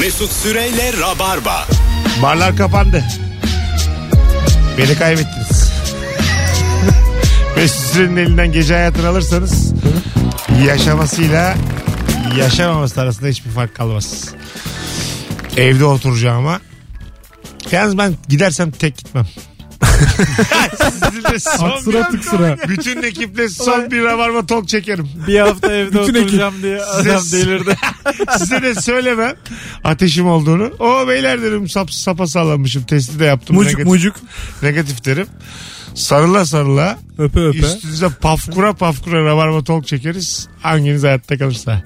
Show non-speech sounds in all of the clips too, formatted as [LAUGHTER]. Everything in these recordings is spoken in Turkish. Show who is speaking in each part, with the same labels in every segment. Speaker 1: Mesut Süreyle Rabarba.
Speaker 2: Barlar kapandı. Beni kaybettiniz. [LAUGHS] Mesut Süren'in elinden gece hayatını alırsanız yaşamasıyla yaşamaması arasında hiçbir fark kalmaz. Evde oturacağıma Yalnız ben gidersem tek gitmem. [LAUGHS] Sizinle son
Speaker 3: Aksıra
Speaker 2: bir-
Speaker 3: tıksıra.
Speaker 2: Bütün ekiple son bir rabarba talk çekerim.
Speaker 3: Bir hafta evde
Speaker 4: Bütün ekip.
Speaker 3: oturacağım diye adam
Speaker 2: Siz-
Speaker 3: delirdi.
Speaker 2: Size de söylemem ateşim olduğunu. O beyler dedim sap, sapa sağlamışım testi de yaptım.
Speaker 4: Mucuk
Speaker 2: negatif,
Speaker 4: mucuk.
Speaker 2: negatif derim. Sarıla sarıla
Speaker 4: Öpe öpe.
Speaker 2: üstünüze pafkura pafkura rabarba talk çekeriz. Hanginiz hayatta kalırsa.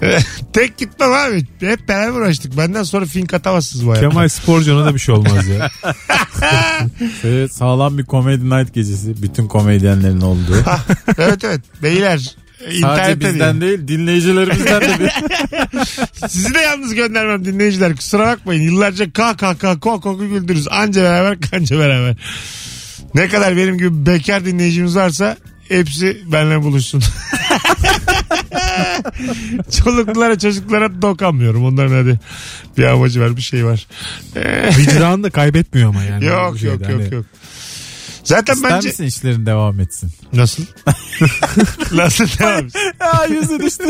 Speaker 2: [LAUGHS] Tek gitmem abi. Hep beraber uğraştık. Benden sonra fink atamazsınız bu hayatta.
Speaker 3: Kemal Sporcu'na da bir şey olmaz
Speaker 2: [LAUGHS]
Speaker 3: ya. Şöyle sağlam bir Comedy Night gecesi. Bütün
Speaker 2: [LAUGHS]
Speaker 3: komedyenlerin olduğu.
Speaker 2: evet evet. Beyler
Speaker 3: Sadece
Speaker 2: internette
Speaker 3: bizden
Speaker 2: değil.
Speaker 3: değil dinleyicilerimizden de [LAUGHS] bir
Speaker 2: Sizi de yalnız göndermem dinleyiciler. Kusura bakmayın. Yıllarca kah kah kah kok koku güldürürüz. Anca beraber [LAUGHS] kanca beraber. Ne kadar benim gibi bekar dinleyicimiz varsa hepsi benimle buluşsun. [LAUGHS] Çoluklara çocuklara dokanmıyorum. Onların hadi bir amacı var bir şey var.
Speaker 4: Vicdanını da kaybetmiyor ama yani.
Speaker 2: Yok
Speaker 4: Bu şeyde.
Speaker 2: yok yok
Speaker 4: Hani
Speaker 2: yok. Zaten
Speaker 3: şey İster
Speaker 2: bence
Speaker 3: misin işlerin devam etsin?
Speaker 2: nasıl? [LAUGHS] nasıl devam?
Speaker 3: [LAUGHS] Ya yüzü [LAUGHS] düştü.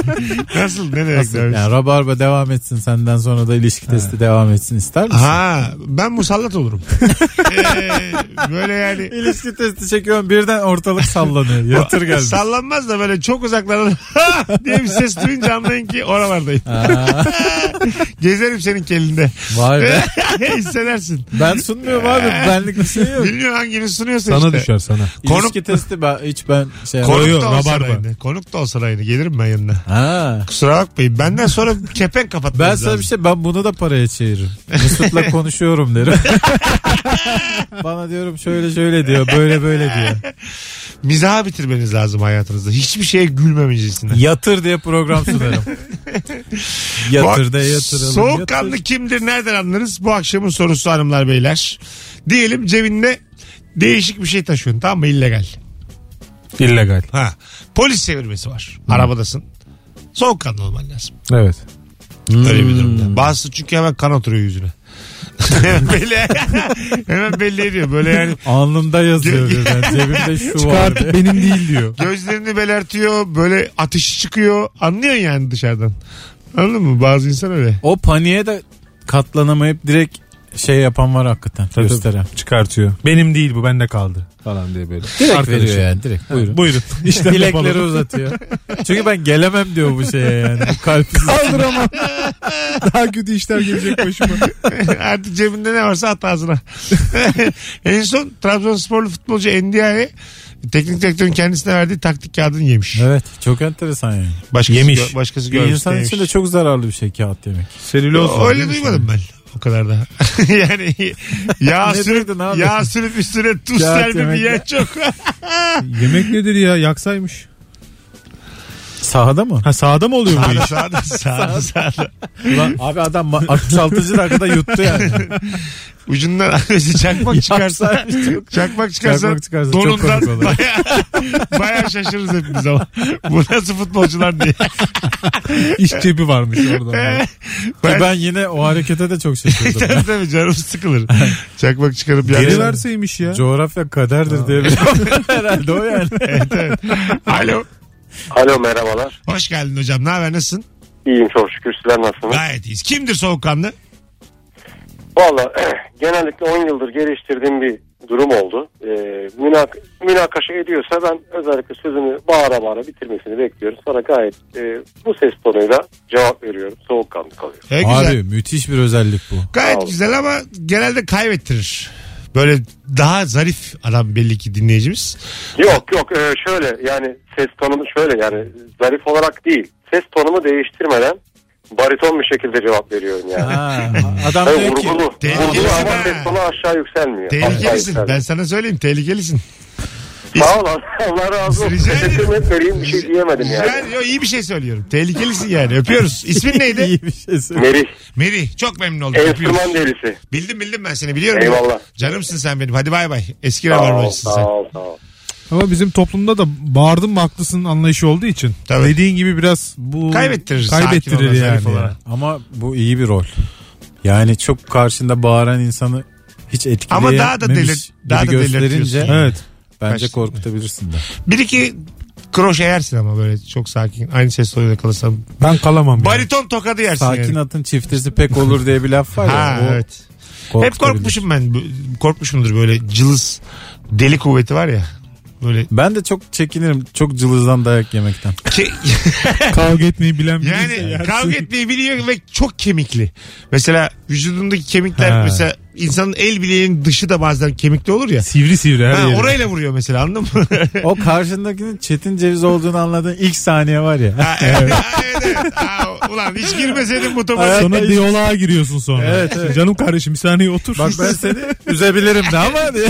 Speaker 2: Nasıl ne demek
Speaker 3: Nasıl?
Speaker 2: devam?
Speaker 3: Yani rabarba devam etsin senden sonra da ilişki testi devam etsin ister misin?
Speaker 2: Ha ben musallat olurum. [LAUGHS] Ee, böyle yani
Speaker 3: İlişki testi çekiyorum birden ortalık sallanıyor.
Speaker 2: [LAUGHS]
Speaker 3: Yatır gelmiş.
Speaker 2: Sallanmaz da böyle çok uzaklardan [LAUGHS] diye bir ses duyunca anlayın ki oralardayım. [LAUGHS] Gezerim senin elinde. [LAUGHS]
Speaker 3: Vay be.
Speaker 2: Hissedersin.
Speaker 3: Ben sunmuyorum abi benlik bir şey yok.
Speaker 2: Bilmiyorum hangini sunuyorsa
Speaker 4: Sana
Speaker 2: işte.
Speaker 4: düşer sana.
Speaker 3: İlişki testi ben, hiç ben şey
Speaker 2: Konuk
Speaker 4: Koyuyor,
Speaker 2: da olsa
Speaker 4: rabarba.
Speaker 2: aynı. Konuk da olsa aynı. Gelirim ben yanına.
Speaker 3: Ha.
Speaker 2: Kusura bakmayın. Benden sonra kepenk kapatmanız
Speaker 3: Ben sana
Speaker 2: lazım.
Speaker 3: bir şey ben bunu da paraya çeviririm.
Speaker 4: [LAUGHS]
Speaker 3: Mesut'la konuşuyorum derim. Bana diyorum şöyle şöyle diyor böyle böyle diyor.
Speaker 2: Mizaha bitirmeniz lazım hayatınızda. Hiçbir şeye gülmemecesine.
Speaker 3: Yatır diye program sunarım. yatır da yatıralım.
Speaker 2: Soğukkanlı
Speaker 3: yatır.
Speaker 2: kimdir nereden anlarız? Bu akşamın sorusu hanımlar beyler. Diyelim cebinde değişik bir şey taşıyorsun tamam mı? İllegal.
Speaker 4: İllegal.
Speaker 2: Ha. Polis çevirmesi var. Arabadasın. Soğukkanlı olman lazım.
Speaker 4: Evet.
Speaker 3: Hmm.
Speaker 2: Öyle bir durumda. Bazısı çünkü hemen kan oturuyor
Speaker 3: [LAUGHS]
Speaker 2: yüzüne. hemen belli, hemen belli ediyor. Böyle yani
Speaker 3: Alnımda yazıyor diyor. ben. Cebimde şu var.
Speaker 4: Artık benim değil diyor.
Speaker 2: gözlerini belertiyor. Böyle ateşi çıkıyor. Anlıyorsun yani dışarıdan. Anladın mı? Bazı insan öyle. [LAUGHS]
Speaker 3: O paniğe de katlanamayıp direkt şey yapan var hakikaten. gösteren
Speaker 4: Çıkartıyor. Benim değil bu bende kaldı. Falan diye böyle.
Speaker 3: Direkt
Speaker 4: Arkadaşım.
Speaker 3: veriyor yani direkt. Buyurun.
Speaker 4: Buyurun.
Speaker 3: [LAUGHS]
Speaker 4: İşte
Speaker 3: Bilekleri uzatıyor. Çünkü ben gelemem diyor bu şeye yani. Bu
Speaker 4: [LAUGHS]
Speaker 3: kalp
Speaker 4: kaldıramam. Daha kötü işler gelecek başıma.
Speaker 2: Artık cebinde ne varsa at ağzına. [LAUGHS] en son Trabzonsporlu futbolcu Endia'ya teknik direktörün kendisine verdiği taktik kağıdını yemiş.
Speaker 3: Evet çok enteresan yani.
Speaker 2: Başkası,
Speaker 4: Yemiş.
Speaker 2: gö- başkası
Speaker 3: Bir
Speaker 2: görmüş.
Speaker 3: insan
Speaker 2: de
Speaker 3: için de
Speaker 2: yemiş.
Speaker 3: çok zararlı bir şey kağıt yemek.
Speaker 4: Selüloz var, değil
Speaker 2: Öyle
Speaker 4: mi
Speaker 2: duymadım ben. O kadar da. [LAUGHS] yani yağ
Speaker 3: Ne
Speaker 2: sürüp,
Speaker 3: duydun abi?
Speaker 2: yağ sürüp üstüne tuz
Speaker 3: Kağıt
Speaker 2: serpip
Speaker 3: yemek.
Speaker 2: yiyen
Speaker 3: [LAUGHS]
Speaker 2: çok.
Speaker 4: sana? Yemek nedir ya yaksaymış.
Speaker 3: Sahada mı?
Speaker 4: Ha sağda mı oluyor bu iş?
Speaker 2: sağda sağda sağda sağda.
Speaker 3: Ulan abi adam ma- 66. dakikada yuttu yani.
Speaker 2: Ucundan mesela çakmak çıkarsa
Speaker 3: Yapsaymış çok-
Speaker 2: çakmak çıkarsa
Speaker 3: Çakmak çıkarsa çok
Speaker 2: donundan
Speaker 3: komik olur.
Speaker 2: baya, [LAUGHS] baya şaşırırız hepimiz ama. Bu nasıl futbolcular
Speaker 3: [LAUGHS]
Speaker 2: diye.
Speaker 4: İş cebi varmış [LAUGHS] orada.
Speaker 3: Ki
Speaker 2: Ben-
Speaker 3: ben yine o harekete de çok
Speaker 4: [LAUGHS]
Speaker 3: şaşırdım.
Speaker 2: Tabii tabii canım sıkılır. Çakmak çıkarıp
Speaker 4: Geri
Speaker 2: yani.
Speaker 4: verseymiş ya.
Speaker 3: Coğrafya kaderdir diye bir
Speaker 4: [LAUGHS]
Speaker 3: [LAUGHS] herhalde o yani.
Speaker 2: Alo.
Speaker 5: Alo merhabalar.
Speaker 2: Hoş geldin hocam. Ne haber? Nasılsın?
Speaker 5: İyiyim çok şükür. Sizler nasılsınız?
Speaker 2: Gayet iyiyiz. Kimdir soğukkanlı?
Speaker 5: Valla [CLEARS THROAT] genellikle 10 yıldır geliştirdiğim bir durum oldu. Ee, münak münakaşa ediyorsa ben özellikle sözünü bağıra bağıra bitirmesini bekliyorum. Sonra gayet e, bu ses tonuyla cevap veriyorum. Soğukkanlı kalıyor.
Speaker 2: E, güzel.
Speaker 3: Abi müthiş bir özellik bu.
Speaker 2: Gayet
Speaker 5: Sağ ol.
Speaker 2: güzel ama genelde kaybettirir. Böyle daha zarif adam belli ki dinleyicimiz.
Speaker 5: Yok yok e, şöyle yani ses tonumu şöyle yani zarif olarak değil. Ses tonumu değiştirmeden bariton bir şekilde cevap veriyorum yani.
Speaker 3: Ha, adam
Speaker 5: Ve
Speaker 3: diyor ki
Speaker 5: vurgulu. Vurgulu
Speaker 2: Tehlikelisin
Speaker 5: ama
Speaker 2: ha.
Speaker 5: ses tonu aşağı yükselmiyor. Aşağı
Speaker 2: Tehlikelisin.
Speaker 5: yükselmiyor.
Speaker 2: Ben sana söyleyeyim tehlikelisin.
Speaker 5: Sağ ol [LAUGHS] Allah razı olsun.
Speaker 2: Rica ederim.
Speaker 5: Teşekkür ederim. Bir şey diyemedim yani.
Speaker 2: Güzel, yo, iyi bir şey söylüyorum. Tehlikelisin yani. Öpüyoruz. İsmin neydi?
Speaker 3: iyi bir şey söylüyor.
Speaker 5: Merih.
Speaker 2: Meri. Çok memnun oldum. Öpüyoruz.
Speaker 5: Enstrüman delisi.
Speaker 2: Bildim bildim ben seni biliyorum.
Speaker 5: Eyvallah.
Speaker 2: Canımsın sen benim. Hadi bay bay. Eski
Speaker 5: Sağ ol,
Speaker 2: rabarbacısın sen.
Speaker 5: sağ ol, sağ ol.
Speaker 4: Ama bizim toplumda da bağırdın mı haklısın anlayışı olduğu için.
Speaker 2: Tabii.
Speaker 4: Dediğin gibi biraz bu
Speaker 2: Kaybettirir, sakin olan,
Speaker 4: kaybettirir
Speaker 2: zarif
Speaker 4: yani.
Speaker 2: olarak.
Speaker 3: Ama bu iyi bir rol. Yani çok karşında bağıran insanı hiç
Speaker 2: Ama
Speaker 3: etkileyememiş
Speaker 2: daha da deli- daha da
Speaker 3: biri gösterince
Speaker 2: delirtiyorsun.
Speaker 3: evet, bence
Speaker 2: Kaç-
Speaker 3: korkutabilirsin de.
Speaker 2: Bir iki kroşe yersin ama böyle çok sakin. Aynı ses tonuyla kalırsan.
Speaker 4: Ben kalamam. ya.
Speaker 2: Bariton tokadı yersin
Speaker 3: Sakin
Speaker 2: yani.
Speaker 3: atın çiftesi pek olur diye bir laf var ya.
Speaker 2: Ha
Speaker 3: o
Speaker 2: evet. Hep
Speaker 3: korkutabilir.
Speaker 2: korkmuşum ben. Bu- Korkmuşumdur böyle cılız deli kuvveti var ya. Böyle
Speaker 3: Ben de çok çekinirim çok cılızdan
Speaker 2: [LAUGHS]
Speaker 3: dayak yemekten.
Speaker 2: ke-
Speaker 4: Kavga etmeyi bilen birisi.
Speaker 2: yani kavga etmeyi biliyor ve çok kemikli. Mesela vücudundaki kemikler
Speaker 4: Ha.
Speaker 2: mesela insanın el bileğinin dışı da bazen kemikli olur ya.
Speaker 4: Sivri sivri her
Speaker 2: Ha,
Speaker 4: yeri.
Speaker 2: orayla vuruyor mesela anladın mı?
Speaker 3: O karşındakinin çetin ceviz olduğunu anladığın ilk saniye var ya.
Speaker 2: Ha, evet, evet, evet. Ha, ulan hiç girmeseydin bu topa.
Speaker 4: Sonra diyaloğa giriyorsun sonra.
Speaker 3: Evet, evet.
Speaker 4: Canım kardeşim bir saniye otur.
Speaker 3: Bak ben seni üzebilirim de ama diye.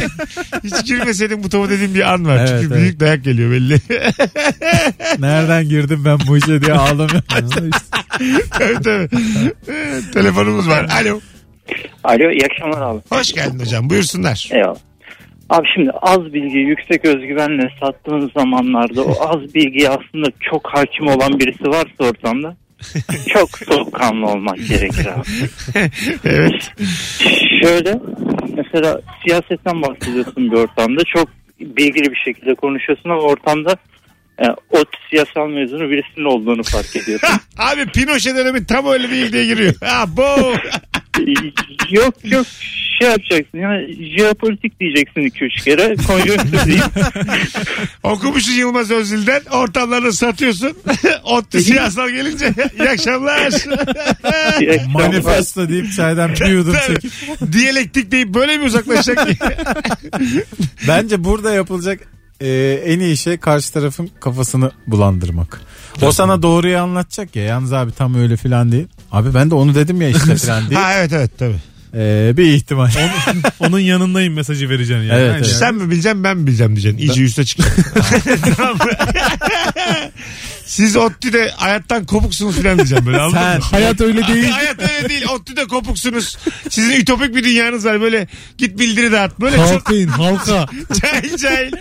Speaker 2: Hiç girmeseydin bu topa dediğim bir an var.
Speaker 3: Evet,
Speaker 2: Çünkü
Speaker 3: evet.
Speaker 2: büyük dayak geliyor belli. [LAUGHS]
Speaker 3: Nereden girdim ben bu işe diye
Speaker 4: [LAUGHS]
Speaker 3: ağlamıyorum.
Speaker 2: Tabii, tabii. Ee, Telefonumuz var. Alo.
Speaker 6: Alo iyi akşamlar abi.
Speaker 2: Hoş geldin hocam. Buyursunlar. [LAUGHS]
Speaker 6: Eyvallah. Abi şimdi az bilgiyi yüksek özgüvenle sattığın zamanlarda o az bilgiye aslında çok hakim olan birisi varsa ortamda çok soğukkanlı olmak gerekir abi.
Speaker 2: Evet.
Speaker 6: Şöyle mesela siyasetten bahsediyorsun bir ortamda çok bilgili bir şekilde konuşuyorsun ama ortamda e, o siyasal mezunu birisinin olduğunu fark ediyorsun.
Speaker 2: [LAUGHS] Abi Pinochet dönemi tam öyle bir ilgiye giriyor. Ha, bu.
Speaker 6: E, yok yok şey yapacaksın yani jeopolitik diyeceksin 2-3 kere konjonktür değil.
Speaker 2: Okumuşsun Yılmaz Özil'den. Ortamlarını satıyorsun. [LAUGHS] Otlu siyasal gelince. [LAUGHS] İyi akşamlar.
Speaker 6: İyi akşamlar.
Speaker 3: Manifesto deyip çaydan bir yudum çekip.
Speaker 2: Tabii. Diyalektik deyip böyle mi uzaklaşacak ki?
Speaker 3: Bence burada yapılacak e, en iyi şey karşı tarafın kafasını bulandırmak. O sana doğruyu anlatacak ya. Yalnız abi tam öyle filan değil. Abi ben de onu dedim ya
Speaker 4: [LAUGHS]
Speaker 3: işte filan değil.
Speaker 2: ha evet evet tabii.
Speaker 3: E, bir ihtimal.
Speaker 4: Onun yanındayım mesajı vereceksin yani.
Speaker 3: Evet,
Speaker 4: Aynen.
Speaker 3: evet.
Speaker 2: Sen mi bileceksin ben mi bileceğim diyeceksin. İyice üste çıkacaksın. Tamam mı? Siz ODTÜ'de hayattan kopuksunuz filan diyeceğim böyle anladın
Speaker 3: Sen.
Speaker 2: mı?
Speaker 4: Hayat öyle [LAUGHS] değil.
Speaker 2: Hayat öyle değil. ODTÜ'de kopuksunuz. Sizin ütopik bir dünyanız var. Böyle git bildiri dağıt. Böyle çok
Speaker 4: Halkayın halka.
Speaker 2: [LAUGHS] cahil cahil.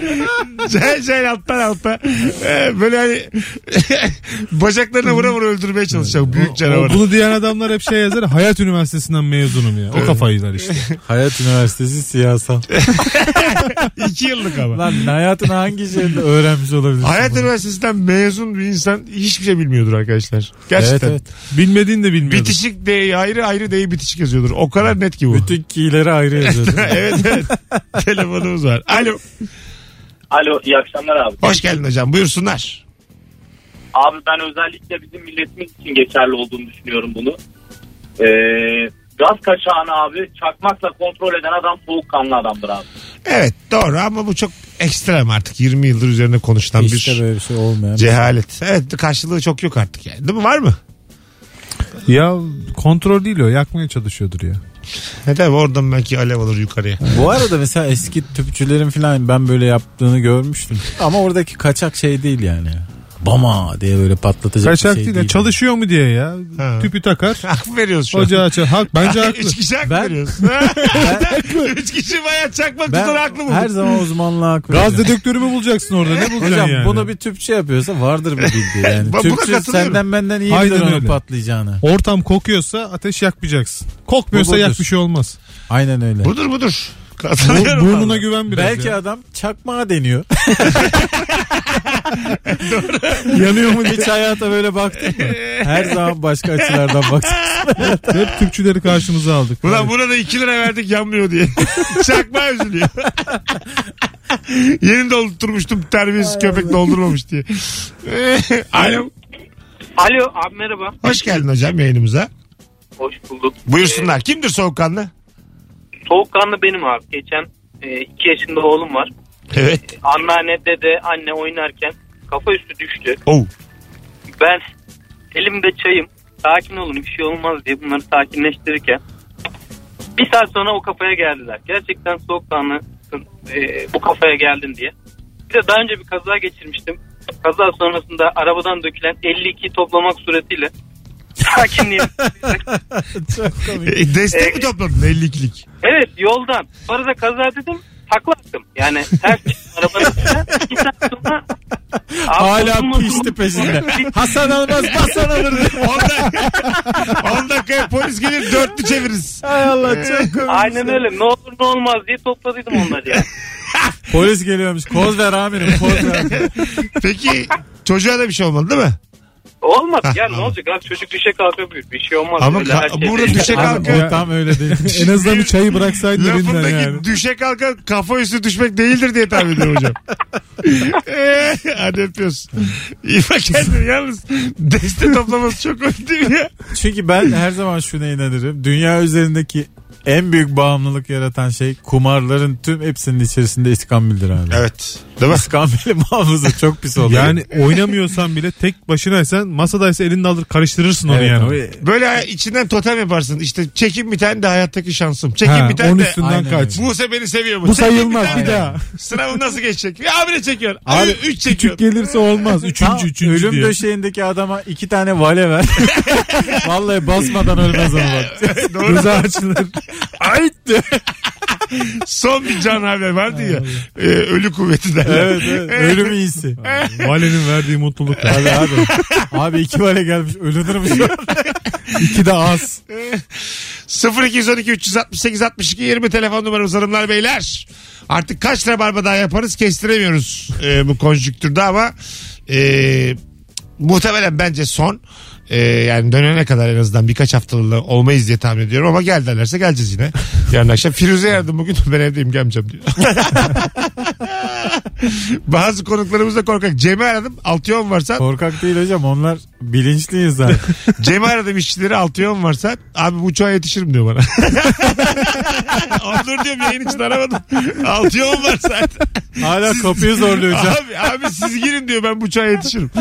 Speaker 2: cahil cahil alttan alta. Ee, böyle hani [LAUGHS] bacaklarına vura vura öldürmeye çalışacak. Büyük
Speaker 4: O,
Speaker 2: canavar.
Speaker 4: bunu diyen adamlar hep şey yazar. Hayat Üniversitesi'nden mezunum ya. O kafayılar [LAUGHS] işte.
Speaker 3: Hayat Üniversitesi
Speaker 4: [LAUGHS]
Speaker 3: siyasal.
Speaker 2: [LAUGHS] İki yıllık ama.
Speaker 3: Lan hayatın hangi şeyini öğrenmiş olabilirsin?
Speaker 2: Hayat
Speaker 3: bunu?
Speaker 2: Üniversitesi'nden mezun bir insan hiçbir şey bilmiyordur arkadaşlar.
Speaker 3: Evet
Speaker 2: Gerçekten.
Speaker 3: evet.
Speaker 4: Bilmediğini de bilmiyordum.
Speaker 2: Bitişik D'yi ayrı ayrı D'yi bitişik yazıyordur. O kadar net ki bu.
Speaker 3: Bütün kiyleri ayrı yazıyordu.
Speaker 2: [LAUGHS] evet evet. Telefonumuz var. Alo.
Speaker 7: Alo iyi akşamlar abi.
Speaker 2: Hoş geldin hocam. Buyursunlar.
Speaker 7: Abi ben özellikle bizim milletimiz için geçerli olduğunu düşünüyorum bunu. Ee, gaz kaçağını abi çakmakla kontrol eden adam soğukkanlı adamdır abi.
Speaker 2: Evet doğru ama bu çok ekstrem artık. 20 yıldır üzerine konuşulan
Speaker 3: işte
Speaker 2: bir
Speaker 3: böyle bir şey olmayan.
Speaker 2: cehalet. Evet karşılığı çok yok artık yani. Değil mi? Var mı?
Speaker 4: Ya kontrol değil o. Yakmaya çalışıyordur ya.
Speaker 2: E tabi oradan belki alev alır yukarıya. [LAUGHS]
Speaker 3: Bu arada mesela eski tüpçülerin falan ben böyle yaptığını görmüştüm. Ama oradaki kaçak şey değil yani. Bama diye böyle patlatacak
Speaker 4: Kaçak
Speaker 3: bir şey
Speaker 4: değil.
Speaker 3: değil.
Speaker 4: de Çalışıyor mu diye ya.
Speaker 2: Ha.
Speaker 4: Tüpü takar.
Speaker 2: Hak mı veriyoruz şu an.
Speaker 4: Ocağı açar. Hak, bence haklı.
Speaker 2: Üç kişi hak
Speaker 3: Ben-
Speaker 2: veriyoruz. [LAUGHS] Üç kişi bayağı çakmak
Speaker 3: Ben
Speaker 2: tutar haklı mı?
Speaker 3: her zaman uzmanlığa hak
Speaker 4: Gaz
Speaker 3: veriyorum.
Speaker 4: dedektörü mü bulacaksın orada? Ne bulacaksın
Speaker 3: Hocam
Speaker 4: yani?
Speaker 3: bunu bir tüpçü yapıyorsa vardır bir bildiği
Speaker 4: [LAUGHS]
Speaker 3: yani.
Speaker 2: Buna
Speaker 3: tüpçü
Speaker 2: katılıyorum.
Speaker 3: senden benden iyi
Speaker 4: Aynen
Speaker 3: bilir onun
Speaker 4: öyle.
Speaker 3: patlayacağını.
Speaker 4: Ortam kokuyorsa ateş yakmayacaksın.
Speaker 3: Bu
Speaker 4: Kokmuyorsa
Speaker 3: budur.
Speaker 4: yak bir şey olmaz.
Speaker 3: Aynen öyle.
Speaker 2: Budur budur.
Speaker 4: Bu-
Speaker 2: Katılıyorum.
Speaker 4: burnuna
Speaker 2: vallahi.
Speaker 4: güven biraz.
Speaker 3: Belki
Speaker 4: ya.
Speaker 3: adam çakmağa
Speaker 4: [LAUGHS]
Speaker 3: deniyor.
Speaker 4: yanıyor mu?
Speaker 3: Hiç hayata böyle baktın mı? Her zaman başka açılardan bakacaksın.
Speaker 4: Hep tüpçüleri karşımıza aldık.
Speaker 2: Ulan buna da 2 lira verdik yanmıyor diye. [LAUGHS] Çakma üzülüyor. Yeni doldurmuştum terbiyesiz köpek doldurmamış diye. Alo.
Speaker 7: Alo abi merhaba.
Speaker 2: Hoş geldin hocam yayınımıza.
Speaker 7: Hoş bulduk. Ee,
Speaker 2: Buyursunlar. Kimdir soğukkanlı?
Speaker 7: Soğukkanlı benim abi. Geçen 2 yaşında oğlum var.
Speaker 2: Evet.
Speaker 7: Anneanne dede anne oynarken kafa üstü düştü.
Speaker 2: Oh.
Speaker 7: Ben elimde çayım. Sakin olun bir şey olmaz diye bunları sakinleştirirken bir saat sonra o kafaya geldiler. Gerçekten soğukkanlısın e, bu kafaya geldin diye. Bir de daha önce bir kaza geçirmiştim. Kaza sonrasında arabadan dökülen 52 toplamak suretiyle
Speaker 2: [LAUGHS]
Speaker 7: sakinliğim.
Speaker 2: E, destek mi topladın 52'lik?
Speaker 7: evet yoldan.
Speaker 2: [LAUGHS]
Speaker 7: Bu arada kaza dedim takla attım. Yani ters çıktım arabanın içine. Bir saat sonra
Speaker 3: Hala
Speaker 8: toplumda-
Speaker 3: pişti peşinde. Hasan Almaz Hasan alır.
Speaker 2: 10 dakikaya polis gelir dörtlü çeviririz.
Speaker 3: Hay Allah çok komik.
Speaker 8: Aynen öyle. Ne olur ne olmaz diye topladıydım onları ya.
Speaker 3: Polis geliyormuş. Koz ver amirim koz
Speaker 2: [LAUGHS]
Speaker 3: ver.
Speaker 2: Peki çocuğa da bir şey olmadı değil mi?
Speaker 8: Olmaz
Speaker 2: Hah,
Speaker 8: ya ne
Speaker 2: anladım.
Speaker 8: olacak abi çocuk düşe kalka büyür. Bir şey olmaz.
Speaker 2: Ama
Speaker 8: Öyle
Speaker 2: ka-
Speaker 8: her şey-
Speaker 2: burada düşe
Speaker 3: Abi, o
Speaker 2: kalka
Speaker 3: tam
Speaker 2: [LAUGHS]
Speaker 3: öyle değil.
Speaker 4: en azından bir çayı bıraksaydın elinden
Speaker 2: lafındaki
Speaker 4: yani.
Speaker 2: düşe kalka kafa üstü düşmek değildir diye tahmin ediyorum
Speaker 4: [LAUGHS]
Speaker 2: hocam. Eee, Hadi öpüyoruz. İyi bak kendine yalnız deste toplaması çok hoş değil mi ya.
Speaker 3: Çünkü ben her zaman şuna inanırım. Dünya üzerindeki en büyük bağımlılık yaratan şey kumarların tüm hepsinin içerisinde iskambildir abi.
Speaker 2: Evet. Değil mi?
Speaker 3: [LAUGHS] İskambili bağımlısı çok pis oluyor.
Speaker 4: Yani oynamıyorsan bile tek başınaysan masadaysa elinde alır karıştırırsın onu
Speaker 3: Evet
Speaker 4: yani.
Speaker 3: abi.
Speaker 2: Böyle içinden totem yaparsın. İşte çekin bir tane de hayattaki şansım. Çekin
Speaker 4: Ha,
Speaker 2: bir tane
Speaker 4: onun
Speaker 2: de.
Speaker 4: üstünden
Speaker 3: Aynen
Speaker 4: kaç.
Speaker 3: öyle.
Speaker 2: Buse beni seviyor mu?
Speaker 4: Bu
Speaker 2: Çekin
Speaker 4: sayılmaz
Speaker 2: tane
Speaker 4: bir
Speaker 2: de.
Speaker 4: daha.
Speaker 2: Sınavı nasıl geçecek? Ya abine çekiyor. Abi
Speaker 3: Abi,
Speaker 2: 3 çekiyor.
Speaker 4: Küçük gelirse olmaz. Üçüncü
Speaker 3: Tam
Speaker 4: üçüncü
Speaker 3: ölüm
Speaker 4: diye.
Speaker 3: döşeğindeki adama iki tane vale
Speaker 4: [LAUGHS]
Speaker 3: ver. Vallahi basmadan ölmez onu bak.
Speaker 2: Doğru.
Speaker 4: Rıza açılır.
Speaker 3: Ay
Speaker 2: Son bir can abi vardı ya. Ee, ölü kuvveti derler. Ee,
Speaker 3: Evet, evet. [LAUGHS] Ölüm iyisi.
Speaker 4: Valenin verdiği mutluluk.
Speaker 3: Abi abi. Abi iki vale gelmiş. Ölünür mü?
Speaker 4: [LAUGHS]
Speaker 3: şu an?
Speaker 4: İki de az.
Speaker 2: 0212 368 62 20 telefon numaramız hanımlar beyler. Artık kaç rabarba daha yaparız kestiremiyoruz e, bu konjüktürde ama e, muhtemelen bence son. E, yani dönene kadar en azından birkaç haftalığına olmayız diye tahmin ediyorum ama gel derlerse geleceğiz yine. Yarın akşam Firuze yardım bugün ben evdeyim gelmeyeceğim diyor. Bazı konuklarımız da korkak. Cem'i aradım 6 yol varsa
Speaker 3: Korkak değil hocam. Onlar bilinçli insan.
Speaker 2: Cem'i aradım işçileri altı yön varsa abi bu uçağa yetişirim diyor bana. [LAUGHS] Onur diyorum yayın için aramadım. Altı yön var zaten.
Speaker 3: Hala kapıyı zorluyor
Speaker 4: [LAUGHS]
Speaker 3: hocam.
Speaker 2: abi, abi siz girin diyor ben bu uçağa yetişirim.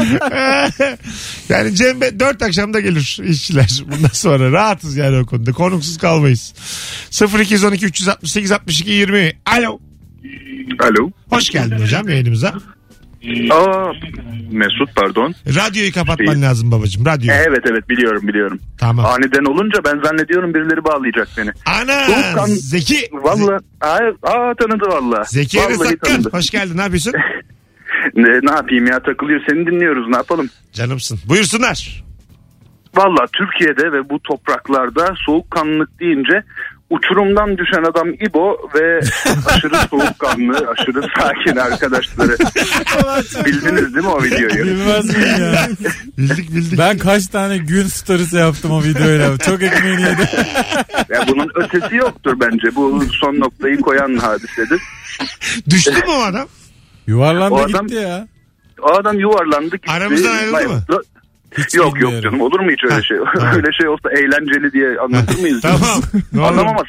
Speaker 2: [LAUGHS] yani Cem Bey dört akşamda gelir işçiler bundan sonra. Rahatız yani o konuda. Konuksuz kalmayız. 0212 368 62 20. Alo.
Speaker 7: Alo.
Speaker 2: Hoş geldin hocam yayınımıza.
Speaker 7: Aa, Mesut pardon.
Speaker 2: Radyoyu kapatman lazım babacığım. Radyoyu.
Speaker 7: Evet evet biliyorum biliyorum.
Speaker 2: Tamam.
Speaker 7: Aniden olunca ben zannediyorum birileri bağlayacak beni.
Speaker 2: Ana
Speaker 7: Soğukkan-
Speaker 2: Zeki.
Speaker 7: Valla aa, aa, tanıdı valla.
Speaker 2: Zeki
Speaker 7: Vallahi
Speaker 2: Enes Akkar.
Speaker 7: tanıdı.
Speaker 2: Hoş geldin. Ne yapıyorsun?
Speaker 7: Ne, ne yapayım ya takılıyor seni dinliyoruz ne yapalım.
Speaker 2: Canımsın. Buyursunlar.
Speaker 7: Valla Türkiye'de ve bu topraklarda soğukkanlılık deyince uçurumdan düşen adam İbo ve
Speaker 2: [LAUGHS]
Speaker 7: aşırı soğukkanlı, aşırı sakin arkadaşları. Bildiniz değil mi o videoyu?
Speaker 3: Bilmez miyim ya?
Speaker 2: Bildik bildik.
Speaker 3: Ben kaç tane gün storiesi yaptım o videoyla. Çok ekmeğini yedim.
Speaker 7: Ya bunun ötesi yoktur bence. Bu son noktayı koyan hadisedir.
Speaker 2: Düştü mü o
Speaker 7: [LAUGHS]
Speaker 2: adam?
Speaker 3: Yuvarlandı
Speaker 7: O adam-
Speaker 3: gitti ya.
Speaker 7: O adam yuvarlandı gitti.
Speaker 2: Aramızdan ayrıldı mı?
Speaker 3: Hiç
Speaker 7: Yok yok
Speaker 3: bilmiyorum.
Speaker 7: canım olur mu hiç öyle şey?
Speaker 2: tamam.
Speaker 7: [LAUGHS] öyle şey olsa eğlenceli diye anlatır mıyız?
Speaker 2: Tamam. Ne olur.
Speaker 7: Anlamamaz.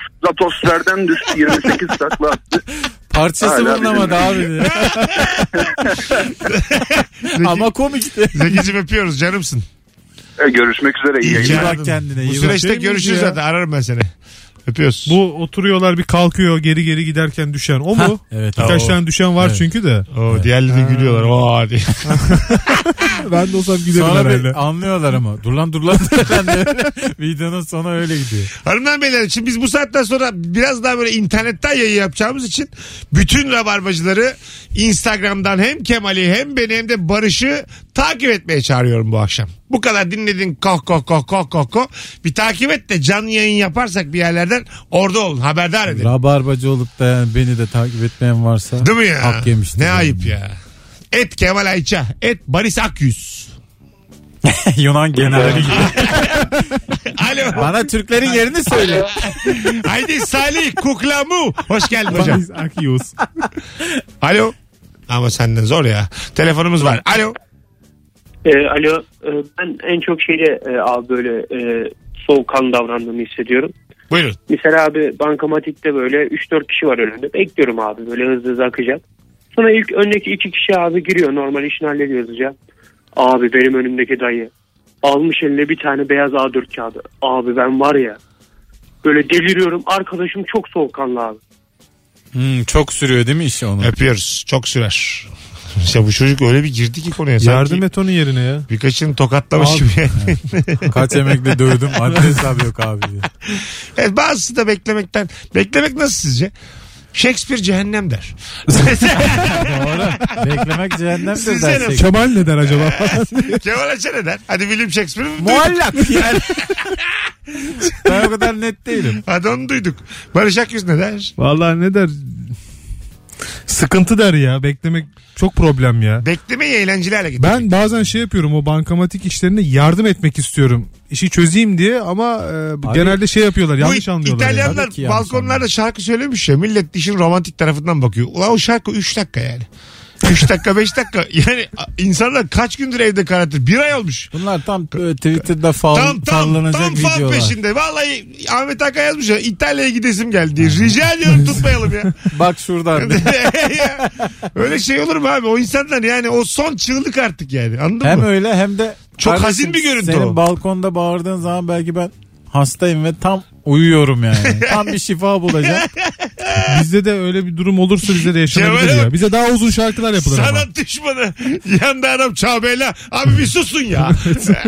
Speaker 2: [LAUGHS]
Speaker 7: Zatosferden düştü 28 takla attı.
Speaker 3: Parçası
Speaker 7: Hala
Speaker 3: bulunamadı abi. diye. Ama komikti.
Speaker 2: Zeki'cim öpüyoruz canımsın.
Speaker 7: E, görüşmek üzere iyi
Speaker 3: İyi
Speaker 7: yayınlar.
Speaker 2: Yardım.
Speaker 3: bak kendine.
Speaker 2: Bu
Speaker 3: iyi bak.
Speaker 2: süreçte
Speaker 3: Şey miydi
Speaker 2: görüşürüz
Speaker 3: ya?
Speaker 2: zaten ararım ben seni. Öpüyoruz. Bu...
Speaker 4: Bu oturuyorlar bir kalkıyor geri geri giderken düşen. O mu?
Speaker 3: Evet.
Speaker 4: Birkaç
Speaker 2: o.
Speaker 4: tane düşen var
Speaker 3: Evet.
Speaker 4: çünkü de.
Speaker 2: Oo, Diğerleri de gülüyorlar. Oo, diye.
Speaker 4: Ben de olsam gülerim
Speaker 3: Sonra
Speaker 4: herhalde.
Speaker 3: bir anlıyorlar ama. Dur lan dur lan. [LAUGHS] Ben de öyle- Videonun sonu öyle gidiyor.
Speaker 2: Hanımlar beyler için biz bu saatten sonra biraz daha böyle internetten yayın yapacağımız için bütün rabarbacıları Instagram'dan hem Kemal'i hem beni hem de Barış'ı takip etmeye çağırıyorum bu akşam. Bu kadar dinledin koh koh koh koh koh koh. Bir takip et de canlı yayın yaparsak bir yerlerden orada olun haberdar edin.
Speaker 3: Rabarbacı olup da yani beni de takip etmeyen varsa
Speaker 2: Değil mi ya?
Speaker 3: hak yemiştir.
Speaker 2: Ne
Speaker 3: yani.
Speaker 2: ayıp ya. Et Kemal Ayça. Et Barış Akyüz.
Speaker 3: [LAUGHS] Yunan generali gibi.
Speaker 2: Alo.
Speaker 3: Bana Türklerin yerini söyle.
Speaker 2: Haydi Salih Kuklamu. Hoş geldin hocam.
Speaker 4: Biz Akios.
Speaker 2: Alo. Ama senden zor ya. Telefonumuz var. Alo.
Speaker 9: E, alo, e, ben en çok şeyle e, abi böyle e, soğukkanlı davrandığımı hissediyorum.
Speaker 2: Buyurun.
Speaker 9: Mesela abi bankamatikte böyle 3-4 kişi var önünde. Bekliyorum abi böyle hızlı hızlı akacak. Sonra ilk öndeki iki kişi abi giriyor. Normal işini hallediyor hızlıca. Abi benim önümdeki dayı almış eline bir tane beyaz A4 kağıdı. Abi ben var ya böyle deliriyorum. Arkadaşım çok soğukkanlı abi.
Speaker 3: Hmm, çok sürüyor değil mi işi onun?
Speaker 2: Öpüyoruz. Çok sürer. İşte bu çocuk öyle bir girdi ki konuya.
Speaker 4: Yardım
Speaker 2: Sanki
Speaker 4: et onun yerine ya.
Speaker 2: birkaçını tokatlamış
Speaker 3: Abi.
Speaker 2: gibi. [LAUGHS] yani.
Speaker 3: Kaç emekli dövdüm adres hesabı yok abi. diye.
Speaker 2: evet, bazısı da beklemekten. Beklemek nasıl sizce? Shakespeare cehennem
Speaker 4: [LAUGHS]
Speaker 2: der.
Speaker 3: Doğru. Beklemek cehennemdir
Speaker 2: Sizce
Speaker 3: dersek.
Speaker 2: nasıl?
Speaker 4: Kemal ne der acaba?
Speaker 2: Kemal Açar ne der? Hadi William Shakespeare'ı duyduk.
Speaker 3: Muallak
Speaker 4: [LAUGHS]
Speaker 3: yani. ben o kadar net değilim.
Speaker 2: Hadi onu duyduk. Barış Akyüz ne der?
Speaker 4: Vallahi ne der? Sıkıntı der ya. Beklemek çok problem ya.
Speaker 2: Beklemeyi eğlenceli hale getir.
Speaker 4: Ben bazen şey yapıyorum o bankamatik işlerine yardım etmek istiyorum. İşi çözeyim diye ama e, genelde şey yapıyorlar yanlış
Speaker 2: Bu
Speaker 4: anlıyorlar. ya.
Speaker 2: İtalyanlar
Speaker 3: Tabii ki yanlış
Speaker 2: balkonlarda şarkı söylemiş ya. Millet işin romantik tarafından bakıyor. Ulan o şarkı 3 dakika yani. 3 dakika 5 dakika. [LAUGHS] Yani a- insanlar kaç gündür evde karantina? Bir ay olmuş.
Speaker 3: Bunlar tam e, Twitter'da fal,
Speaker 2: Tam tam
Speaker 3: fallanacak
Speaker 2: tam fan
Speaker 3: videolar.
Speaker 2: peşinde. Vallahi Ahmet Hakan yazmış ya İtalya'ya gidesim geldi diye. Rica
Speaker 3: [LAUGHS]
Speaker 2: ediyorum tutmayalım ya. [LAUGHS]
Speaker 3: Bak şuradan.
Speaker 2: Ya, Öyle şey olur mu abi? O insanlar yani o son çığlık artık yani. Anladın
Speaker 3: hem
Speaker 2: mı?
Speaker 3: öyle hem de
Speaker 2: Çok hazin bir görüntü
Speaker 3: Senin
Speaker 2: o.
Speaker 3: balkonda bağırdığın zaman belki ben hastayım ve tam uyuyorum [LAUGHS] yani. tam bir şifa bulacağım.
Speaker 4: Bizde de öyle bir durum olursa bize de yaşanabilir
Speaker 2: Kemal'e
Speaker 4: ya.
Speaker 2: bak.
Speaker 4: Bize daha uzun şarkılar yapılır ama.
Speaker 2: Sanat düşmanı. [LAUGHS] Yanda adam Çağbeyla. Abi bir susun
Speaker 3: [LAUGHS]
Speaker 2: ya.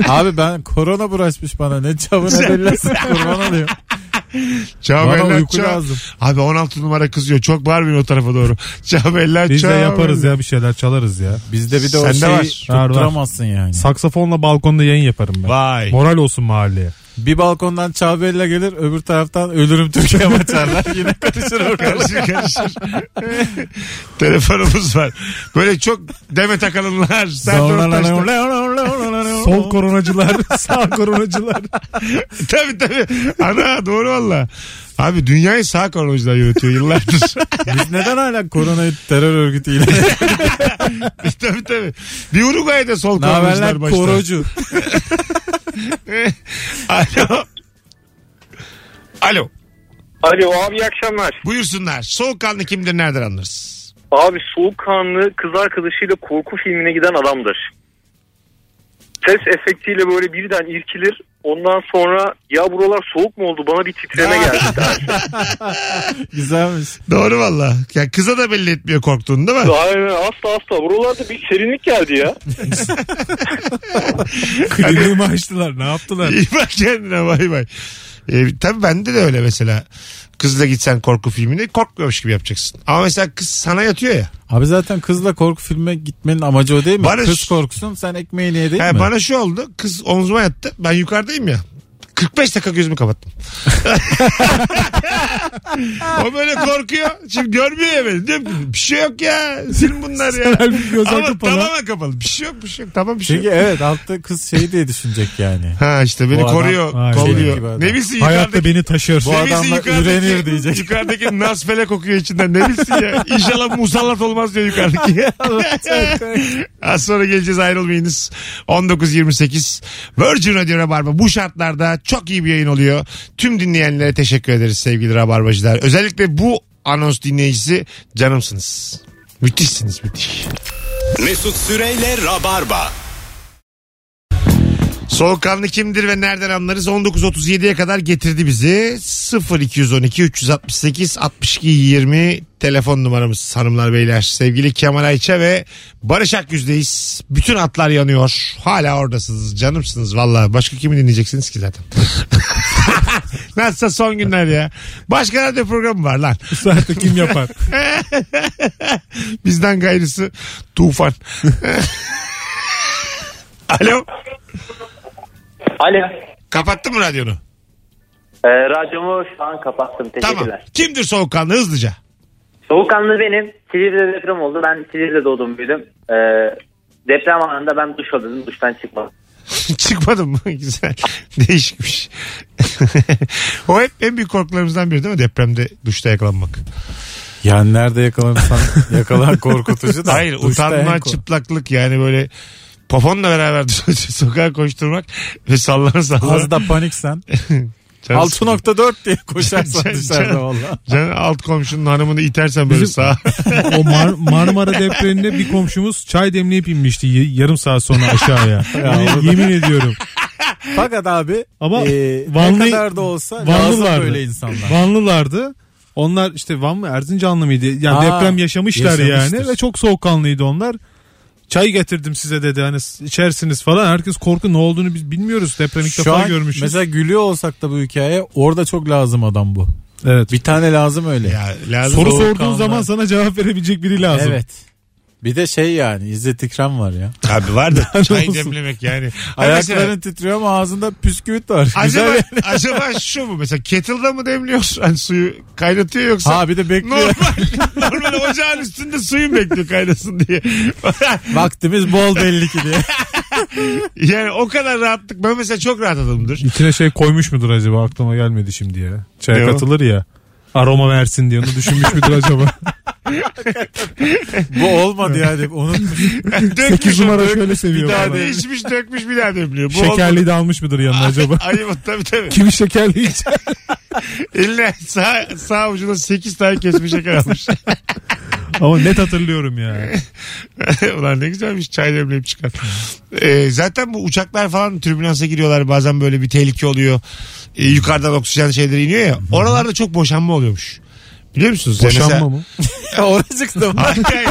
Speaker 3: Abi ben korona bulaşmış bana ne çabuk ne bellesin kurban [LAUGHS] olayım. Bana
Speaker 2: Çağbeyla
Speaker 3: uyku
Speaker 2: Çağ.
Speaker 3: lazım.
Speaker 2: Abi 16 numara kızıyor. Çok bağırmayın o tarafa doğru. [LAUGHS] Çağbeyla Çağ.
Speaker 4: Biz de yaparız ya bir şeyler çalarız ya.
Speaker 3: Bizde bir de o
Speaker 2: Sende
Speaker 3: şeyi
Speaker 2: var.
Speaker 4: Var, var.
Speaker 3: tutturamazsın yani.
Speaker 4: Saksafonla balkonda yayın yaparım ben.
Speaker 2: Vay.
Speaker 4: Moral olsun mahalleye.
Speaker 3: Bir balkondan Çağbella gelir öbür taraftan ölürüm Türkiye maçarlar [LAUGHS] yine karışır ortalık.
Speaker 2: Karışır karışır. [LAUGHS] Telefonumuz var. Böyle çok Demet Akalınlar, Serdar Ortaçlar.
Speaker 4: Sol koronacılar, sağ koronacılar.
Speaker 2: [LAUGHS] tabii tabii. Ana doğru valla. Abi dünyayı sağ koronacılar yönetiyor
Speaker 4: [LAUGHS]
Speaker 2: yıllardır. [LAUGHS]
Speaker 3: Biz neden hala koronayı terör örgütüyle?
Speaker 2: tabii tabii. Bir Uruguay'da sol
Speaker 3: ne haberler
Speaker 2: koronacılar başta.
Speaker 3: korocu?
Speaker 2: [LAUGHS] Alo. Alo.
Speaker 5: Alo abi iyi akşamlar.
Speaker 2: Buyursunlar. Soğukkanlı kimdir nereden anlarız?
Speaker 5: Abi soğukkanlı kız arkadaşıyla korku filmine giden adamdır. Ses efektiyle böyle birden irkilir. Ondan sonra ya buralar soğuk mu oldu bana bir titreme geldi der.
Speaker 3: Güzelmiş.
Speaker 2: Doğru valla. Ya kıza da belli etmiyor korktuğunu değil mi?
Speaker 5: Aynen asla asla buralarda bir serinlik geldi ya.
Speaker 4: Kliniğimi açtılar ne yaptılar?
Speaker 2: [LAUGHS] İyi bak kendine bay bay. Ee, tabii bende de öyle mesela. Kızla gitsen korku filmini korkmuyormuş gibi yapacaksın. Ama mesela kız sana yatıyor ya.
Speaker 3: Abi zaten kızla korku filme gitmenin amacı o değil mi?
Speaker 2: Barış.
Speaker 3: Kız korkusun sen ekmeğini ye değil
Speaker 2: He,
Speaker 3: [LAUGHS] mi?
Speaker 2: bana şu oldu. Kız omzuma yattı. Ben yukarıdayım ya. 45 dakika gözümü kapattım. [LAUGHS] o böyle korkuyor. Şimdi görmüyor ya beni. Diyorum ki bir şey yok ya. Sil bunlar
Speaker 3: [LAUGHS]
Speaker 2: ya.
Speaker 3: halbuki göz
Speaker 2: Ama
Speaker 3: kapalı.
Speaker 2: tamamen kapalı. Bir şey yok bir şey yok. Tamam bir şey
Speaker 3: Çünkü
Speaker 2: yok.
Speaker 3: evet altta kız şey diye düşünecek yani.
Speaker 2: Ha işte beni
Speaker 3: Bu adam-
Speaker 2: koruyor.
Speaker 4: Aynen.
Speaker 3: Şey gibi
Speaker 2: kolluyor.
Speaker 3: adam.
Speaker 2: Ne bilsin
Speaker 4: Hayatta
Speaker 2: yukarıdaki.
Speaker 4: beni taşır.
Speaker 3: Bu
Speaker 2: ne
Speaker 3: adamla
Speaker 2: bilsin Şey yukarıdaki-
Speaker 3: ürenir
Speaker 2: [LAUGHS]
Speaker 3: diyecek. [LAUGHS]
Speaker 2: Yukarıdaki nas felek kokuyor içinden. Ne bilsin ya. İnşallah musallat olmaz diyor
Speaker 3: [LAUGHS]
Speaker 2: yukarıdaki. Az sonra geleceğiz ayrılmayınız. 19.28 Virgin Radio Rabarba bu şartlarda çok iyi bir yayın oluyor. Tüm dinleyenlere teşekkür ederiz sevgili Rabarbacılar. Özellikle bu anons dinleyicisi canımsınız. Müthişsiniz müthiş.
Speaker 1: Mesut Süreyle Rabarba.
Speaker 2: Soğukkanlı kimdir ve nereden anlarız? 19.37'ye kadar getirdi bizi. 0212 368 62 20 telefon numaramız hanımlar beyler. Sevgili Kemal Ayça ve Barış Akgüz'deyiz. Bütün atlar yanıyor. Hala oradasınız. Canımsınız valla. Başka kimi dinleyeceksiniz ki zaten? [LAUGHS] Nasılsa son günler ya. Başka radyo programı var lan.
Speaker 4: Bu saatte kim yapar?
Speaker 2: [LAUGHS] Bizden gayrısı
Speaker 4: [LAUGHS]
Speaker 2: tufan. Alo.
Speaker 10: Alo.
Speaker 2: Kapattın mı radyonu?
Speaker 10: Ee, radyomu şu an kapattım.
Speaker 2: Tamam.
Speaker 10: Teşekkürler.
Speaker 2: Kimdir soğukkanlı hızlıca? [LAUGHS]
Speaker 10: Soğukkanlı benim. Silivri'de deprem oldu. Ben Silivri'de doğdum büyüdüm. Ee, deprem anında ben duş aldım. Duştan çıkmadım.
Speaker 2: Çıkmadım mı? [LAUGHS] Güzel. Değişikmiş. [LAUGHS] o hep en büyük korkularımızdan biri değil mi? Depremde duşta yakalanmak.
Speaker 3: Yani nerede yakalanırsan yakalan korkutucu
Speaker 2: [LAUGHS]
Speaker 3: da.
Speaker 2: Hayır
Speaker 3: Duşta en
Speaker 2: utanma
Speaker 3: ko-
Speaker 2: çıplaklık yani böyle poponla beraber [LAUGHS] sokağa koşturmak ve sallana sallana.
Speaker 3: Az da panik sen.
Speaker 2: Canı sıkılır.
Speaker 3: 6.4 diye
Speaker 2: [LAUGHS]
Speaker 3: koşarsan
Speaker 2: Can-
Speaker 3: dışarıda
Speaker 2: can-
Speaker 3: valla.
Speaker 2: Canı alt komşunun hanımını itersen böyle
Speaker 4: Bizim-
Speaker 2: sağa.
Speaker 3: [LAUGHS]
Speaker 4: o Mar- Marmara depreminde bir komşumuz çay demleyip inmişti y- yarım saat sonra
Speaker 3: [LAUGHS]
Speaker 4: aşağıya. Yani yemin ediyorum.
Speaker 3: Fakat abi
Speaker 4: Ama
Speaker 3: e,
Speaker 4: Vanlı-
Speaker 3: ne kadar da olsa lazım
Speaker 4: Vanlılardı.
Speaker 3: böyle insanlar.
Speaker 4: Vanlılardı. Onlar işte Van mı Erzincanlı mıydı? Yani
Speaker 3: Aa,
Speaker 4: deprem yaşamışlar
Speaker 3: yaşamıştır.
Speaker 4: yani ve çok soğukkanlıydı onlar. Çay getirdim size dedi hani s- içersiniz falan. Herkes korku ne olduğunu biz bilmiyoruz. Deprem ilk
Speaker 3: Şu
Speaker 4: defa
Speaker 3: an
Speaker 4: görmüşüz.
Speaker 3: mesela gülüyor olsak da bu hikaye orada çok lazım adam bu.
Speaker 4: Evet.
Speaker 3: Bir tane lazım öyle.
Speaker 2: Ya, lazım
Speaker 4: Soru
Speaker 2: Doğru.
Speaker 4: sorduğun
Speaker 3: kanlar.
Speaker 4: zaman sana cevap verebilecek biri lazım.
Speaker 3: Evet. Bir de şey yani İzzet İkram var ya.
Speaker 2: [LAUGHS]
Speaker 3: Hani
Speaker 2: Abi var
Speaker 3: [LAUGHS]
Speaker 2: da çay
Speaker 4: olsun.
Speaker 2: demlemek yani. Ha mesela-
Speaker 3: Ayakların titriyor ama ağzında püsküvit var.
Speaker 2: Acaba,
Speaker 3: Güzel. ya.
Speaker 2: acaba şu mu mesela kettle'da mı demliyor hani suyu kaynatıyor yoksa
Speaker 3: Ha bir de bekliyor.
Speaker 2: normal [LAUGHS] normal ocağın üstünde suyu mu bekliyor kaynasın diye. [LAUGHS]
Speaker 3: Vaktimiz bol belli ki diye.
Speaker 2: yani o kadar rahatlık ben mesela çok rahat adamımdır. [LAUGHS]
Speaker 4: İçine şey koymuş mudur acaba aklıma gelmedi şimdi ya. Çaya
Speaker 2: Ne o?
Speaker 4: katılır ya. Aroma versin diye onu düşünmüş müdür acaba?
Speaker 3: Bu olmadı yani.
Speaker 4: [LAUGHS]
Speaker 3: Onun
Speaker 2: Dökmüş
Speaker 4: 8 numara
Speaker 2: numara
Speaker 4: şöyle
Speaker 2: bir
Speaker 4: seviyor.
Speaker 2: daha
Speaker 4: falan.
Speaker 2: değişmiş dökmüş bir daha demliyor. Bu
Speaker 4: [LAUGHS] Şekerli de almış mıdır yanına acaba?
Speaker 2: [LAUGHS] Ayıp tabii tabii.
Speaker 4: Kimi şekerli içer?
Speaker 2: Eline sağ, sağ ucuna 8 tane kesmiş şeker almış. [LAUGHS]
Speaker 4: Ama net hatırlıyorum ya.
Speaker 2: Ulan ne güzelmiş çay demleyip çıkar. Ee, zaten bu uçaklar falan türbülansa giriyorlar bazen böyle bir tehlike oluyor. Ee, yukarıdan oksijen şeyleri iniyor ya. Oralarda çok boşanma oluyormuş. Biliyor musunuz? Yani mesela-
Speaker 4: Boşanma mı?
Speaker 3: oracık da
Speaker 2: Hayır, hayır.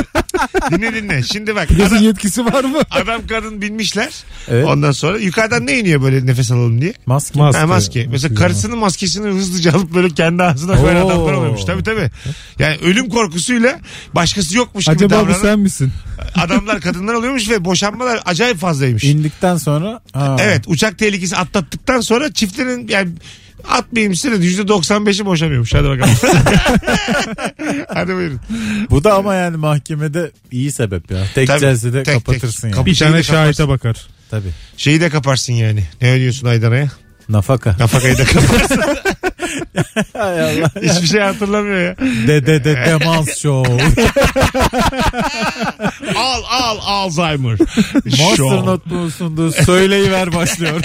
Speaker 2: dinle dinle. Şimdi bak
Speaker 4: Pilosun
Speaker 2: adam,
Speaker 4: yetkisi var mı?
Speaker 2: adam kadın binmişler.
Speaker 3: Evet.
Speaker 2: Ondan sonra yukarıdan ne iniyor böyle nefes alalım diye?
Speaker 3: Maske.
Speaker 4: Maske.
Speaker 2: Ha, maske. Mesela karısının maskesini hızlıca alıp böyle kendi ağzına koyan
Speaker 3: Oo.
Speaker 2: adamlar oluyormuş. Tabii tabii. Yani ölüm korkusuyla başkası yokmuş gibi
Speaker 4: Acaba bu
Speaker 2: davranan
Speaker 4: sen misin?
Speaker 2: adamlar kadınlar oluyormuş ve boşanmalar acayip fazlaymış.
Speaker 3: İndikten sonra. Ha.
Speaker 2: Evet uçak tehlikesi atlattıktan sonra çiftlerin yani atmayayım size de %95'i boşanıyormuş. Hadi
Speaker 4: [LAUGHS]
Speaker 2: bakalım. Hadi buyurun.
Speaker 3: Bu da ama yani mahkemede iyi sebep ya. Tek
Speaker 2: Tabii,
Speaker 3: celsede
Speaker 2: tek,
Speaker 3: kapatırsın
Speaker 2: tek.
Speaker 3: yani.
Speaker 2: Bir
Speaker 4: Bir
Speaker 2: şey de
Speaker 4: tane şahite bakar.
Speaker 3: Tabii.
Speaker 2: Şeyi de kaparsın yani. Ne ödüyorsun Aydana'ya?
Speaker 3: Nafaka.
Speaker 2: Nafakayı da kaparsın.
Speaker 3: Hay Allah.
Speaker 2: Hiçbir şey hatırlamıyor ya.
Speaker 3: De de de demans
Speaker 2: [LAUGHS]
Speaker 3: show.
Speaker 2: Al al Alzheimer.
Speaker 3: Monster
Speaker 2: Şov.
Speaker 3: Notebook'un sunduğu Söyleyiver başlıyor.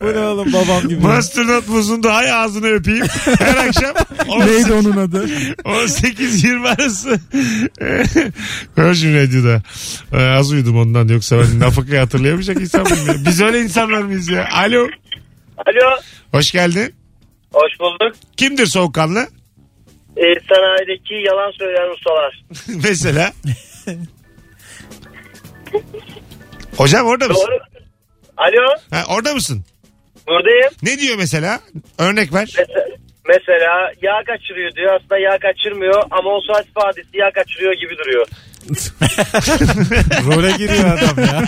Speaker 3: Bu ne oğlum babam gibi.
Speaker 2: Masternot buzunda hay ağzını öpeyim. Her akşam
Speaker 4: Neydi onun adı?
Speaker 2: 18-20 arası. Virgin Radio'da. Ee, az uyudum ondan yoksa ben nafakayı hatırlayamayacak insan mıyım? ya? Biz öyle insanlar mıyız ya? Alo.
Speaker 7: Alo.
Speaker 2: Hoş geldin.
Speaker 7: Hoş bulduk. Ee,
Speaker 2: Kimdir soğukkanlı? [LAUGHS]
Speaker 7: sanayideki yalan söyleyen ustalar.
Speaker 2: Mesela. Hocam orada mısın?
Speaker 7: Alo.
Speaker 2: Ha, orada mısın?
Speaker 7: Buradayım.
Speaker 2: Ne diyor mesela? Örnek ver.
Speaker 7: Mesela yağ kaçırıyor diyor. Aslında yağ kaçırmıyor ama o saat ifadesi yağ kaçırıyor gibi duruyor.
Speaker 3: Role giriyor adam ya.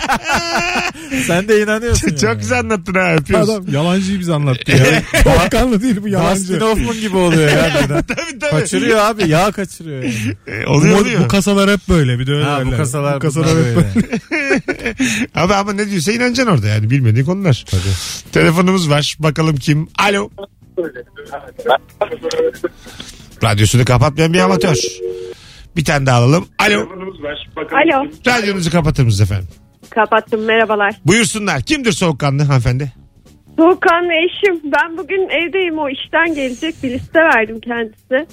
Speaker 3: Sen de inanıyorsun. yani.
Speaker 2: Çok güzel anlattın ha öpüyoruz.
Speaker 4: Adam yalancıyı bize anlattı ya. Korkanlı değil bu
Speaker 3: Dustin
Speaker 4: yalancı.
Speaker 3: Hoffman gibi oluyor ya. birden.
Speaker 2: Tabii tabii.
Speaker 3: Kaçırıyor abi yağ kaçırıyor. yani.
Speaker 2: Ee,
Speaker 4: Bu,
Speaker 2: oluyor oluyor.
Speaker 4: bu kasalar hep böyle bir de öyle
Speaker 3: Ha, bu
Speaker 4: derler.
Speaker 3: kasalar,
Speaker 4: Bu kasalar
Speaker 3: bunlar
Speaker 4: hep böyle.
Speaker 3: böyle.
Speaker 2: Abi ama ne diyorsa inanacaksın orada yani bilmediğin konular. Telefonumuz var. Bakalım kim? Alo. Radyosunu kapatmayan bir amatör. Bir tane daha alalım. Alo.
Speaker 11: Alo.
Speaker 2: Radyonuzu kapatır mısınız efendim?
Speaker 11: Kapattım merhabalar.
Speaker 2: Buyursunlar. Kimdir soğukkanlı hanımefendi? [LAUGHS]
Speaker 11: Doğukan'la eşim ben bugün evdeyim o işten gelecek bir liste verdim kendisine.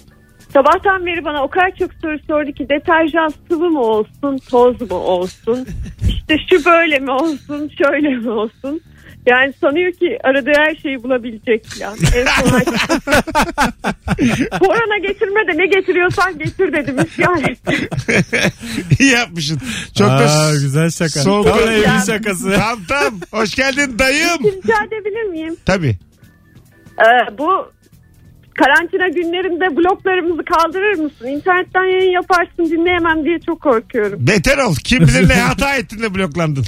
Speaker 11: Sabahtan beri bana o kadar çok soru sordu ki deterjan sıvı mı olsun toz mu
Speaker 7: [LAUGHS]
Speaker 11: olsun işte şu böyle mi olsun şöyle mi olsun. Yani sanıyor ki aradığı her şeyi bulabilecek ya. En
Speaker 2: [LAUGHS]
Speaker 11: son artık- Korona getirme de ne getiriyorsan getir dedim isyan ettim.
Speaker 2: İyi yapmışsın. Çok da
Speaker 3: Aa, güzel şaka.
Speaker 2: soğuk-
Speaker 3: Tam
Speaker 2: Ya.
Speaker 3: evin şakası.
Speaker 2: Tam tam. Hoş geldin dayım.
Speaker 11: Rica edebilir miyim?
Speaker 2: Tabii.
Speaker 11: Ee, bu karantina günlerinde bloklarımızı kaldırır mısın? İnternetten yayın yaparsın dinleyemem diye çok korkuyorum.
Speaker 2: Beter ol. Kim
Speaker 3: [LAUGHS]
Speaker 2: bilir ne hata ettin de bloklandın.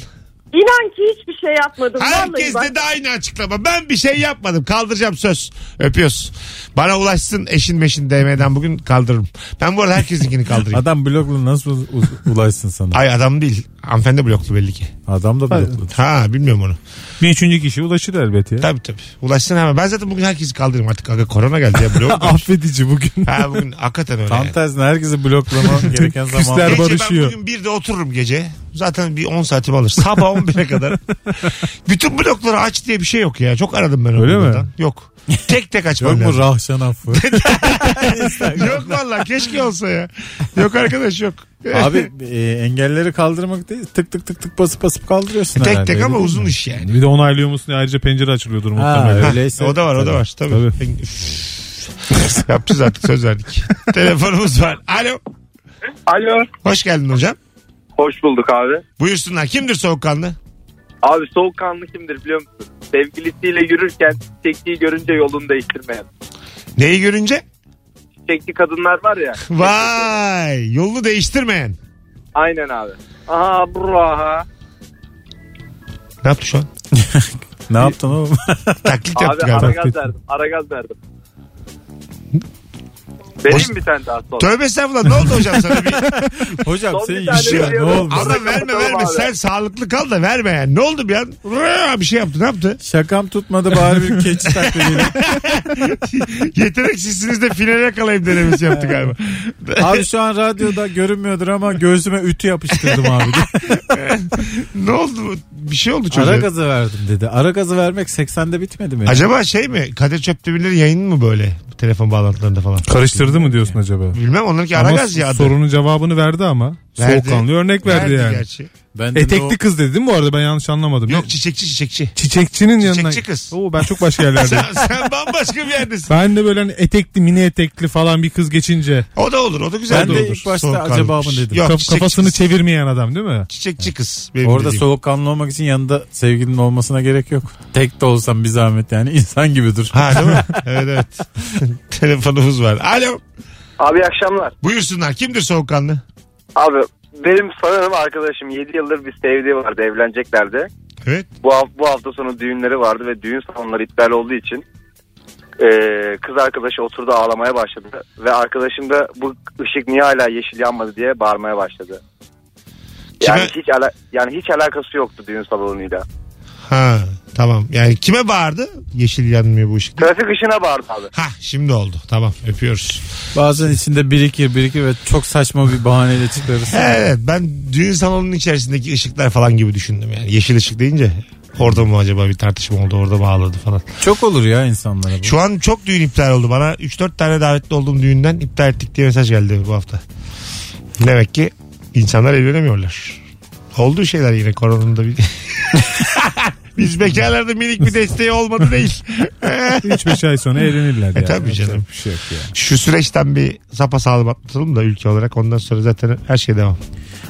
Speaker 11: İnan ki hiçbir şey yapmadım. Vallahi
Speaker 2: Herkes
Speaker 11: bak.
Speaker 2: de de aynı açıklama. Ben bir şey yapmadım. Kaldıracağım söz. Öpüyoruz. Bana ulaşsın eşin meşin DM'den bugün kaldırırım. Ben bu arada herkesinkini
Speaker 3: [LAUGHS]
Speaker 2: kaldırayım.
Speaker 3: Adam bloklu nasıl u- ulaşsın sana?
Speaker 2: Ay adam değil. Hanımefendi bloklu belli ki.
Speaker 3: Adam da bloklu.
Speaker 2: Ha bilmiyorum onu.
Speaker 4: Bir üçüncü kişi ulaşır elbet ya.
Speaker 2: Tabii tabii. Ulaşsın hemen. Ben zaten bugün herkesi kaldırırım artık. Aga korona geldi ya
Speaker 3: [LAUGHS]
Speaker 2: blok.
Speaker 4: Affedici bugün.
Speaker 2: ha bugün hakikaten öyle.
Speaker 3: Tam
Speaker 2: yani.
Speaker 3: tersine
Speaker 2: [LAUGHS]
Speaker 3: herkesi bloklama gereken zaman.
Speaker 4: Küsler-
Speaker 2: Gece
Speaker 4: barışıyor.
Speaker 2: ben bugün bir de otururum gece. Zaten bir 10 saatimi alır. Sabah 11'e kadar. Bütün blokları aç diye bir şey yok ya. Çok aradım ben onu.
Speaker 4: Öyle mi?
Speaker 2: buradan. Yok. Tek tek açmam
Speaker 3: Yok mu
Speaker 2: lazım. [LAUGHS]
Speaker 3: rahşan affı?
Speaker 2: yok valla keşke olsa ya. Yok arkadaş yok. [LAUGHS]
Speaker 3: Abi e, engelleri kaldırmak değil tık tık tık tık basıp basıp kaldırıyorsun
Speaker 2: tek
Speaker 3: herhalde,
Speaker 2: tek
Speaker 3: öyle
Speaker 2: ama
Speaker 3: değil
Speaker 2: uzun
Speaker 3: mi?
Speaker 2: iş yani.
Speaker 4: Bir de onaylıyor musun diye ayrıca pencere açılıyordur
Speaker 3: Ha,
Speaker 4: muhtemelen.
Speaker 3: öyleyse.
Speaker 2: o da var o da
Speaker 3: Tabii.
Speaker 2: var tabii. Yapacağız artık söz
Speaker 3: [LAUGHS]
Speaker 2: verdik. Telefonumuz var. Alo.
Speaker 12: Alo.
Speaker 2: Hoş geldin hocam.
Speaker 12: Hoş bulduk abi.
Speaker 2: Buyursunlar. Kimdir soğukkanlı?
Speaker 7: Abi soğukkanlı kimdir biliyor musun? Sevgilisiyle yürürken çektiği görünce yolunu değiştirmeyen.
Speaker 2: Neyi görünce?
Speaker 7: Çekti kadınlar var ya.
Speaker 2: Vay yolunu değiştirmeyen.
Speaker 7: Aynen abi. Aha bura ha.
Speaker 2: Ne yaptı şu an?
Speaker 3: Ne yaptın oğlum?
Speaker 2: Taklit yaptı
Speaker 7: Abi
Speaker 2: galiba.
Speaker 7: ara gaz verdim. Ara gaz verdim. Vereyim mi bir tane daha sonra?
Speaker 2: Tövbe estağfurullah ne oldu hocam sana?
Speaker 7: [LAUGHS]
Speaker 2: Bir...
Speaker 3: Hocam
Speaker 7: Son
Speaker 3: senin
Speaker 7: bir tane
Speaker 3: işin ne
Speaker 7: veriyorum.
Speaker 3: oldu?
Speaker 2: Ama verme
Speaker 7: kapatalım
Speaker 2: verme
Speaker 7: abi.
Speaker 2: sen sağlıklı kal da verme yani. Ne oldu bir an? Rrrr, Bir şey yaptı ne
Speaker 3: [LAUGHS]
Speaker 2: yaptı?
Speaker 3: Şakam tutmadı bari bir keçi taklidi.
Speaker 2: Yeteneksizsiniz de finale kalayım denemesi yaptı galiba.
Speaker 3: Abi şu an radyoda görünmüyordur ama göğsüme ütü yapıştırdım abi.
Speaker 2: ne oldu? Bir şey oldu çocuğa.
Speaker 3: Ara gazı verdim dedi. Ara gazı vermek 80'de bitmedi mi?
Speaker 2: Acaba şey mi? Kadir Çöptemir'in yayını mı böyle? Bu Telefon bağlantılarında falan.
Speaker 4: Karıştırdı mı diyorsun acaba?
Speaker 2: Bilmem onlarınki ara
Speaker 4: Ama
Speaker 2: gaz ya adı.
Speaker 4: Sorunun cevabını verdi ama.
Speaker 2: Verdi.
Speaker 4: Soğukkanlı örnek verdi, yani.
Speaker 2: gerçi.
Speaker 3: Ben de
Speaker 4: Etekli
Speaker 3: o-
Speaker 4: kız dedi değil mi bu arada ben yanlış anlamadım.
Speaker 2: Yok çiçekçi çiçekçi.
Speaker 4: çiçekçinin
Speaker 2: Çiçekçi
Speaker 4: yanına.
Speaker 2: kız.
Speaker 4: Oo, ben çok
Speaker 2: [LAUGHS]
Speaker 4: başka yerlerdeyim.
Speaker 2: sen, sen bambaşka bir yerdesin.
Speaker 4: ben de böyle hani etekli mini etekli falan bir kız geçince
Speaker 2: O da olur o da güzel
Speaker 3: Ben
Speaker 2: de
Speaker 3: de
Speaker 2: olur.
Speaker 3: ilk başta
Speaker 2: Soğukkanlı.
Speaker 3: acaba mı dedim.
Speaker 2: Yok,
Speaker 4: kaf-
Speaker 2: çiçekçi
Speaker 4: kafasını
Speaker 2: kız.
Speaker 4: çevirmeyen adam değil mi?
Speaker 2: Çiçekçi kız. Benim
Speaker 3: Orada
Speaker 2: dediğim.
Speaker 3: soğukkanlı olmak için yanında sevgilinin olmasına gerek yok. Tek de olsam bir zahmet yani [LAUGHS] insan gibi dur.
Speaker 2: Ha değil
Speaker 3: [LAUGHS]
Speaker 2: mi? evet evet. [LAUGHS] Telefonumuz var. Alo.
Speaker 5: Abi iyi akşamlar.
Speaker 2: Buyursunlar. Kimdir soğukkanlı?
Speaker 5: Abi benim sanırım arkadaşım 7 yıldır bir sevdiği vardı evleneceklerdi.
Speaker 2: Evet.
Speaker 5: Bu, haf- bu hafta sonu düğünleri vardı ve düğün salonları iptal olduğu için eee, kız arkadaşı oturdu ağlamaya başladı. Ve arkadaşım da bu ışık niye hala yeşil yanmadı diye bağırmaya başladı. Yani
Speaker 2: Kime-
Speaker 5: hiç ala- yani hiç alakası yoktu düğün salonuyla.
Speaker 2: Ha tamam. Yani kime bağırdı? Yeşil yanmıyor bu ışık.
Speaker 5: Trafik ışığına bağırdı abi.
Speaker 2: Ha şimdi oldu. Tamam öpüyoruz.
Speaker 3: Bazen içinde birikir birikir ve çok saçma bir
Speaker 2: [LAUGHS]
Speaker 3: bahaneyle çıkarırsın.
Speaker 2: Evet ben düğün salonunun içerisindeki ışıklar falan gibi düşündüm yani. Yeşil ışık deyince orada mı acaba bir tartışma oldu orada bağladı falan.
Speaker 3: Çok olur ya insanlara bu.
Speaker 2: Şu an çok düğün iptal oldu bana. 3-4 tane davetli olduğum düğünden iptal ettik diye mesaj geldi bu hafta. Demek ki insanlar evlenemiyorlar. Olduğu şeyler yine koronanın da bir... [LAUGHS] Biz bekarlarda minik bir desteği olmadı değil.
Speaker 4: 3-5 ay sonra eğlenirler yani.
Speaker 2: E, tabii canım.
Speaker 4: Yapacak Bir şey yok ya.
Speaker 2: Şu süreçten bir sapasağlam atlatalım da ülke olarak ondan sonra zaten her şey devam.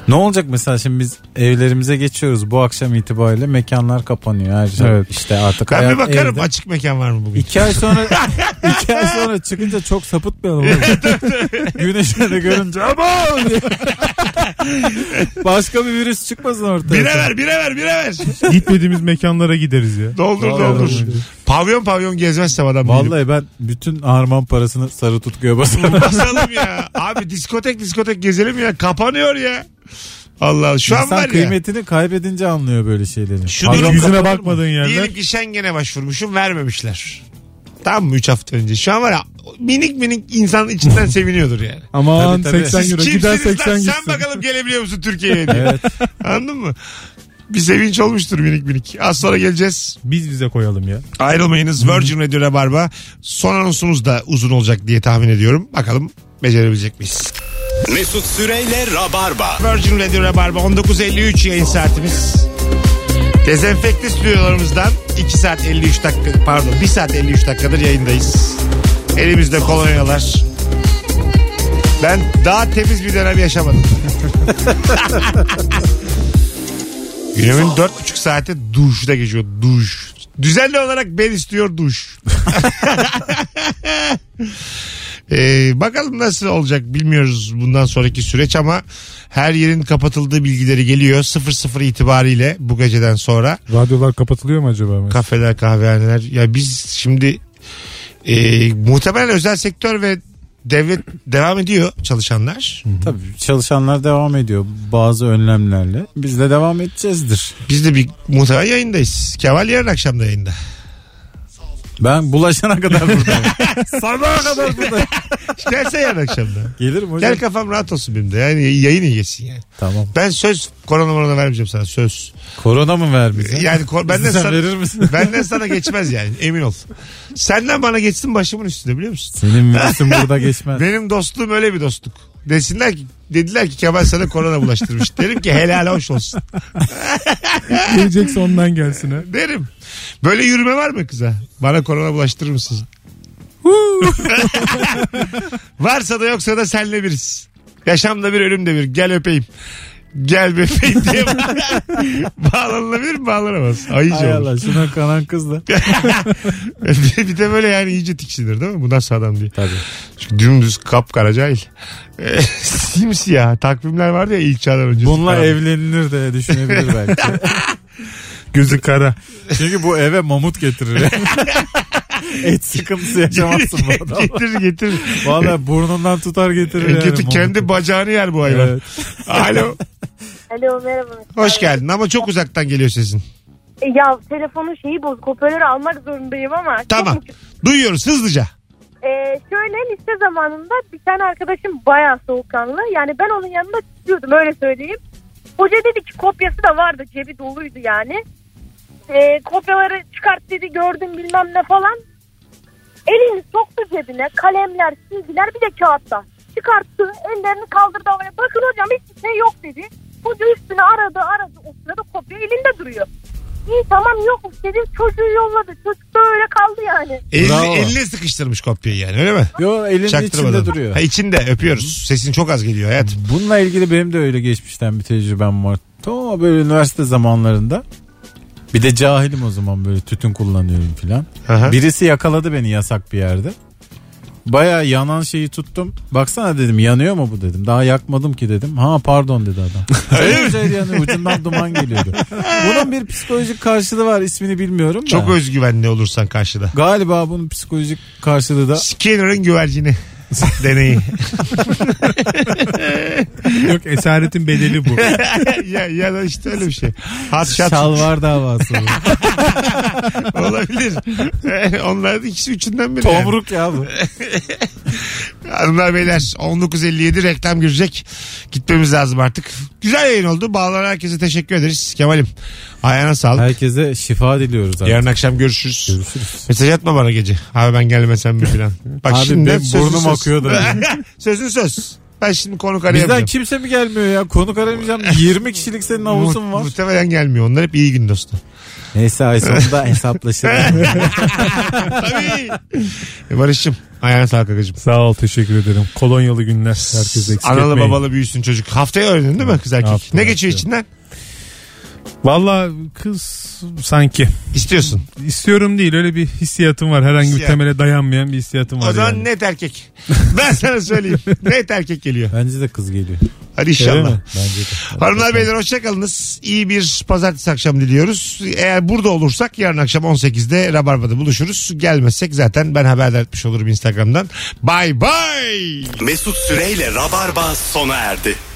Speaker 3: Ne olacak mesela şimdi biz evlerimize geçiyoruz. Bu akşam itibariyle mekanlar kapanıyor. Her şey.
Speaker 4: Evet.
Speaker 3: İşte artık
Speaker 2: Ben
Speaker 3: hayat
Speaker 2: bir bakarım
Speaker 3: evde.
Speaker 2: açık mekan var mı bugün?
Speaker 3: İki ay
Speaker 2: [LAUGHS]
Speaker 3: sonra iki ay sonra çıkınca çok sapıtmayalım. oğlum. Güneşe de görünce
Speaker 2: [LAUGHS]
Speaker 3: aman diye. Başka bir virüs çıkmasın ortaya.
Speaker 2: Bire ver bire ver bire ver.
Speaker 4: Gitmediğimiz mekanlara gideriz ya.
Speaker 2: Doldur doldur. Pavyon pavyon gezmezsem adam değilim.
Speaker 3: Vallahi ben bütün harman parasını sarı tutkuya
Speaker 2: [LAUGHS]
Speaker 3: basarım.
Speaker 2: Basalım ya. Abi diskotek diskotek gezelim ya. Kapanıyor ya. Allah Allah. şu an
Speaker 3: İnsan
Speaker 2: var ya.
Speaker 3: kıymetini kaybedince anlıyor böyle şeyleri.
Speaker 2: Şunu
Speaker 3: Pardon,
Speaker 4: Yüzüne bakmadığın yerler.
Speaker 2: Diyelim ki Schengen'e başvurmuşum vermemişler. Tam mı 3 hafta önce? Şu an var ya minik minik insan
Speaker 4: [LAUGHS]
Speaker 2: içinden seviniyordur yani.
Speaker 4: Aman
Speaker 3: Tabii, tabii.
Speaker 4: 80 euro
Speaker 2: Siz
Speaker 4: gider
Speaker 2: kimsiniz
Speaker 4: 80
Speaker 2: lan?
Speaker 4: gitsin.
Speaker 2: Sen bakalım gelebiliyor musun Türkiye'ye
Speaker 4: [LAUGHS]
Speaker 2: diye.
Speaker 3: Evet.
Speaker 2: Anladın mı? Bir sevinç olmuştur minik minik. Az sonra geleceğiz.
Speaker 4: Biz bize koyalım ya.
Speaker 2: Ayrılmayınız. Virgin Radio Rabarba. Son anonsumuz da uzun olacak diye tahmin ediyorum. Bakalım becerebilecek miyiz?
Speaker 1: Mesut Süreyle Rabarba.
Speaker 2: Virgin Radio Rabarba 19.53 yayın saatimiz. Dezenfekte stüdyolarımızdan 2 saat 53 dakika pardon 1 saat 53 dakikadır yayındayız. Elimizde kolonyalar. Ben daha temiz bir dönem yaşamadım. [LAUGHS] Günümün 4,5 saati duşta geçiyor. Duş. Düzenli olarak ben istiyor duş. Ee, bakalım nasıl olacak bilmiyoruz bundan sonraki süreç ama her yerin kapatıldığı bilgileri geliyor 00 itibariyle bu geceden sonra
Speaker 4: Radyolar kapatılıyor mu acaba?
Speaker 2: kafeler kahvehaneler ya biz şimdi e, muhtemelen özel sektör ve devlet devam ediyor çalışanlar
Speaker 3: Tabii çalışanlar devam ediyor bazı önlemlerle. Biz de devam edeceğizdir.
Speaker 2: biz de bir muhtemelen yayındayız Kemal yarın akşam da yayında [LAUGHS]
Speaker 3: Ben bulaşana [LAUGHS] kadar buradayım. Sabaha kadar buradayım.
Speaker 2: gelse yarın akşam da
Speaker 3: Gelirim hocam.
Speaker 2: gel kafam rahat olsun benim de yani yayın iyi geçsin yani
Speaker 3: Tamam.
Speaker 2: ben söz korona morona vermeyeceğim sana söz
Speaker 3: Korona mı vermeyeceksin?
Speaker 2: Ee, yani kor- ben de
Speaker 3: Sen
Speaker 2: sana
Speaker 3: verir misin?
Speaker 2: [LAUGHS] Benden sana geçmez yani emin ol. Senden bana geçsin başımın üstünde biliyor musun?
Speaker 3: Senin virüsün burada [LAUGHS] geçmez.
Speaker 2: Benim dostluğum öyle bir dostluk. Desinler ki dediler ki Kemal sana korona bulaştırmış. [LAUGHS] Derim ki helal hoş olsun.
Speaker 4: Gelecekse ondan gelsin ha.
Speaker 2: Derim. Böyle yürüme var mı kıza? Bana korona bulaştırır mısın? Varsa da yoksa da senle biriz. Yaşam da bir ölüm de bir. Gel öpeyim. gel bebeğim diye [LAUGHS] bağlanılabilir mi bağlanamaz.
Speaker 3: Hay
Speaker 2: Ayıcı olur.
Speaker 3: Allah şuna kanan kız da.
Speaker 2: [LAUGHS] bir, bir de böyle yani iyice tiksinir değil mi? Bu nasıl adam diye.
Speaker 3: Tabii.
Speaker 2: Çünkü dümdüz kapkara cahil. [LAUGHS] E, simsiyah. Takvimler vardı ya ilk çağdan önce.
Speaker 3: Bununla
Speaker 2: Tamam. [LAUGHS]
Speaker 3: evlenilir de düşünebilir belki. [LAUGHS] Gözü kara. Çünkü bu eve mamut [LAUGHS] getirir. Et sıkıntısı yaşamazsın bu adamla.
Speaker 2: Getirir
Speaker 3: [LAUGHS]
Speaker 2: getirir.
Speaker 3: Valla burnundan tutar getirir
Speaker 2: En
Speaker 3: yani.
Speaker 2: kötü
Speaker 3: mamutu.
Speaker 2: E, kendi bacağını yer bu hayvan.
Speaker 3: Evet.
Speaker 2: Alo.
Speaker 9: Alo merhaba.
Speaker 2: Hoş geldin ama çok uzaktan geliyor sesin.
Speaker 9: E, Ya telefonun şeyi bozuk. Hoparlörü almak zorundayım ama. çok
Speaker 2: Tamam.
Speaker 9: mutlu-
Speaker 2: Duyuyoruz hızlıca.
Speaker 9: E, şöyle lise zamanında bir tane arkadaşım bayağı soğukkanlı. Yani ben onun yanında tutuyordum öyle söyleyeyim. Hoca dedi ki kopyası da vardı. Cebi doluydu yani. E, kopyaları çıkart dedi gördüm bilmem ne falan. Elini soktu cebine. Kalemler, silgiler bir de kağıtta. Çıkarttı. Ellerini kaldırdı havaya. Bakın hocam hiçbir şey yok dedi. Hoca üstüne aradı aradı. O sırada kopya elinde duruyor. İyi tamam yokmuş dedim. Çocuğu yolladı. Çocuk da öyle kaldı yani.
Speaker 2: Elini,
Speaker 3: Bravo.
Speaker 2: eline sıkıştırmış kopyayı yani öyle mi?
Speaker 3: Yo elinin
Speaker 2: Çaktırmadan.
Speaker 3: içinde duruyor.
Speaker 2: Ha, içinde öpüyoruz. Sesin çok az geliyor hayat.
Speaker 3: Bununla ilgili benim de öyle geçmişten bir tecrübem var. Ta böyle üniversite zamanlarında. Bir de cahilim o zaman böyle tütün kullanıyorum filan.
Speaker 2: Aha.
Speaker 3: Birisi yakaladı beni yasak bir yerde. Baya yanan şeyi tuttum. Baksana dedim yanıyor mu bu dedim. Daha yakmadım ki dedim. Ha pardon
Speaker 2: [LAUGHS]
Speaker 3: dedi adam.
Speaker 2: Öyle mi?
Speaker 3: Şey yanıyor, ucundan duman geliyordu. Bunun bir psikolojik karşılığı var ismini bilmiyorum da.
Speaker 2: Çok özgüvenli olursan karşıda.
Speaker 3: Galiba bunun psikolojik karşılığı da
Speaker 2: Skinner'ın
Speaker 3: [LAUGHS]
Speaker 2: güvercini deneyi.
Speaker 4: Yok esaretin bedeli
Speaker 2: [LAUGHS]
Speaker 4: bu.
Speaker 2: ya, ya da işte öyle bir şey. Hat
Speaker 3: [LAUGHS]
Speaker 2: şat
Speaker 3: şalvar davası.
Speaker 2: [LAUGHS] olabilir. Onlar da ikisi üçünden biri. yani.
Speaker 3: Tomruk ya bu.
Speaker 2: Hanımlar beyler 19.57 reklam girecek. Gitmemiz lazım artık. Güzel yayın oldu. Bağlanan herkese teşekkür ederiz. Kemal'im ayağına sağlık.
Speaker 3: Herkese şifa diliyoruz abi.
Speaker 2: Yarın akşam görüşürüz.
Speaker 3: Görüşürüz.
Speaker 2: Mesaj atma bana gece. Abi ben gelmesem mi falan. Bak
Speaker 3: Abi
Speaker 2: şimdi
Speaker 3: benim burnum akıyor da.
Speaker 2: [LAUGHS] sözün söz. Ben şimdi konuk
Speaker 3: Bizden
Speaker 2: arayamıyorum.
Speaker 3: kimse mi gelmiyor ya? Konuk aramayacağım. 20 kişilik senin havusun
Speaker 2: Mu-
Speaker 3: var.
Speaker 2: Muhtemelen gelmiyor. Onlar hep iyi gün dostu.
Speaker 3: [LAUGHS] Neyse ay
Speaker 4: [LAUGHS]
Speaker 3: sonunda hesaplaşalım.
Speaker 2: Tabii. E, Barış'cığım ayağına sağlık kakacığım.
Speaker 4: Sağ ol teşekkür ederim. Kolonyalı günler herkese eksik
Speaker 2: Analı
Speaker 4: etmeyin.
Speaker 2: babalı büyüsün çocuk. Haftaya öğrendin değil mi kız erkek?
Speaker 4: Haftaya,
Speaker 2: ne geçiyor
Speaker 4: haftaya.
Speaker 2: içinden?
Speaker 4: Valla kız sanki.
Speaker 2: İstiyorsun.
Speaker 4: İstiyorum değil öyle bir hissiyatım var. Herhangi bir
Speaker 2: Hissiyat.
Speaker 4: temele dayanmayan bir hissiyatım var
Speaker 2: O zaman
Speaker 4: yani.
Speaker 2: net erkek. [LAUGHS] Ben sana söyleyeyim. net erkek geliyor.
Speaker 3: Bence de kız geliyor.
Speaker 2: Hadi
Speaker 3: Öyle
Speaker 2: inşallah.
Speaker 3: mi? Bence de.
Speaker 2: Hanımlar beyler hoşçakalınız. İyi bir pazartesi akşamı diliyoruz. Eğer burada olursak yarın akşam 18'de Rabarba'da buluşuruz. Gelmezsek zaten ben haberdar etmiş olurum Instagram'dan. Bay bay.
Speaker 1: Mesut Süreyle Rabarba sona erdi.